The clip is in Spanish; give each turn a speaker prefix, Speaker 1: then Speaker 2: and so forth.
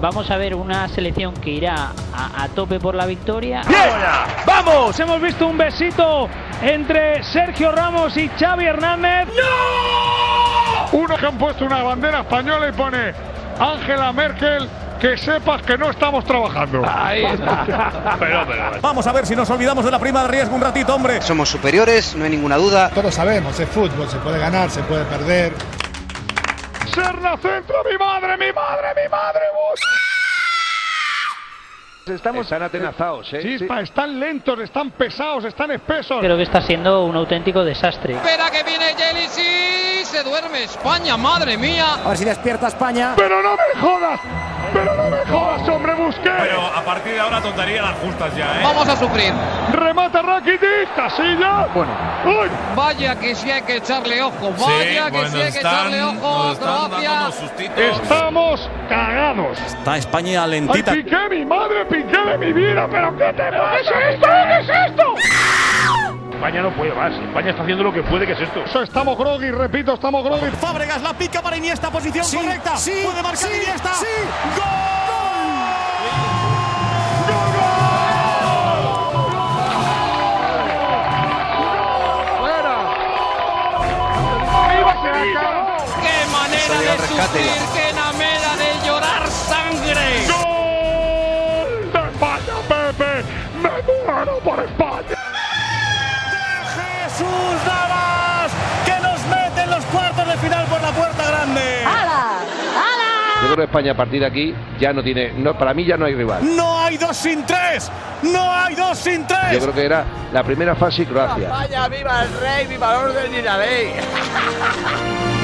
Speaker 1: vamos a ver una selección que irá a, a tope por la victoria.
Speaker 2: ¡Vamos! Hemos visto un besito entre Sergio Ramos y Xavi Hernández.
Speaker 3: Uno que han puesto una bandera española y pone Ángela Merkel, que sepas que no estamos trabajando. Ahí está. pero, pero.
Speaker 4: Vamos a ver si nos olvidamos de la prima de riesgo un ratito, hombre.
Speaker 5: Somos superiores, no hay ninguna duda.
Speaker 6: Todos sabemos, es fútbol, se puede ganar, se puede perder.
Speaker 3: Serna Centro, mi madre, mi madre, mi madre, vos.
Speaker 7: Estamos están atenazados, ¿eh?
Speaker 3: Chispa, están lentos, están pesados, están espesos.
Speaker 1: Creo que está siendo un auténtico desastre.
Speaker 8: Espera que viene Yelis y se duerme España, madre mía.
Speaker 9: A ver si despierta España.
Speaker 3: Pero no me jodas, pero no me jodas, hombre, busqué.
Speaker 10: Pero a partir de ahora tontería las justas ya, ¿eh?
Speaker 8: Vamos a sufrir.
Speaker 3: Remata Rakitic, Casilla.
Speaker 7: Bueno.
Speaker 3: ¡Uy!
Speaker 8: Vaya que sí hay que echarle ojo, vaya Oh, que
Speaker 10: bueno,
Speaker 8: sí hay que
Speaker 10: están-
Speaker 8: echarle ojo
Speaker 10: nos
Speaker 8: a
Speaker 10: están dando
Speaker 8: Croacia.
Speaker 10: unos sustitos.
Speaker 3: Estamos cagados.
Speaker 4: Está España
Speaker 3: ¡Ay,
Speaker 4: lentita.
Speaker 3: Piqué, mi madre, Piqué de mi vida! ¿Pero qué te pasa? es esto? ¿Qué es esto?
Speaker 11: España no puede más. España está haciendo lo que puede, que es esto.
Speaker 3: Estamos groggy, repito, estamos groggy.
Speaker 4: Fábregas la pica para Iniesta, posición correcta. puede marcar Iniesta.
Speaker 3: ¡Viva Sevilla!
Speaker 8: ¡Qué manera
Speaker 5: Salió
Speaker 8: de
Speaker 5: al rescate.
Speaker 8: sufrir! ¡Qué manera de llorar sangre!
Speaker 3: ¡Gol de España, Pepe! ¡Me muero por España!
Speaker 4: Jesús Navas que nos mete en los cuartos de final por la puerta grande.
Speaker 7: Yo creo que España a partir de aquí ya no tiene. No, para mí ya no hay rival.
Speaker 4: No hay dos sin tres. No hay dos sin
Speaker 7: Yo
Speaker 4: tres.
Speaker 7: creo que era la primera fase y Croacia.
Speaker 9: Vaya, viva el rey, viva el orden y la ley.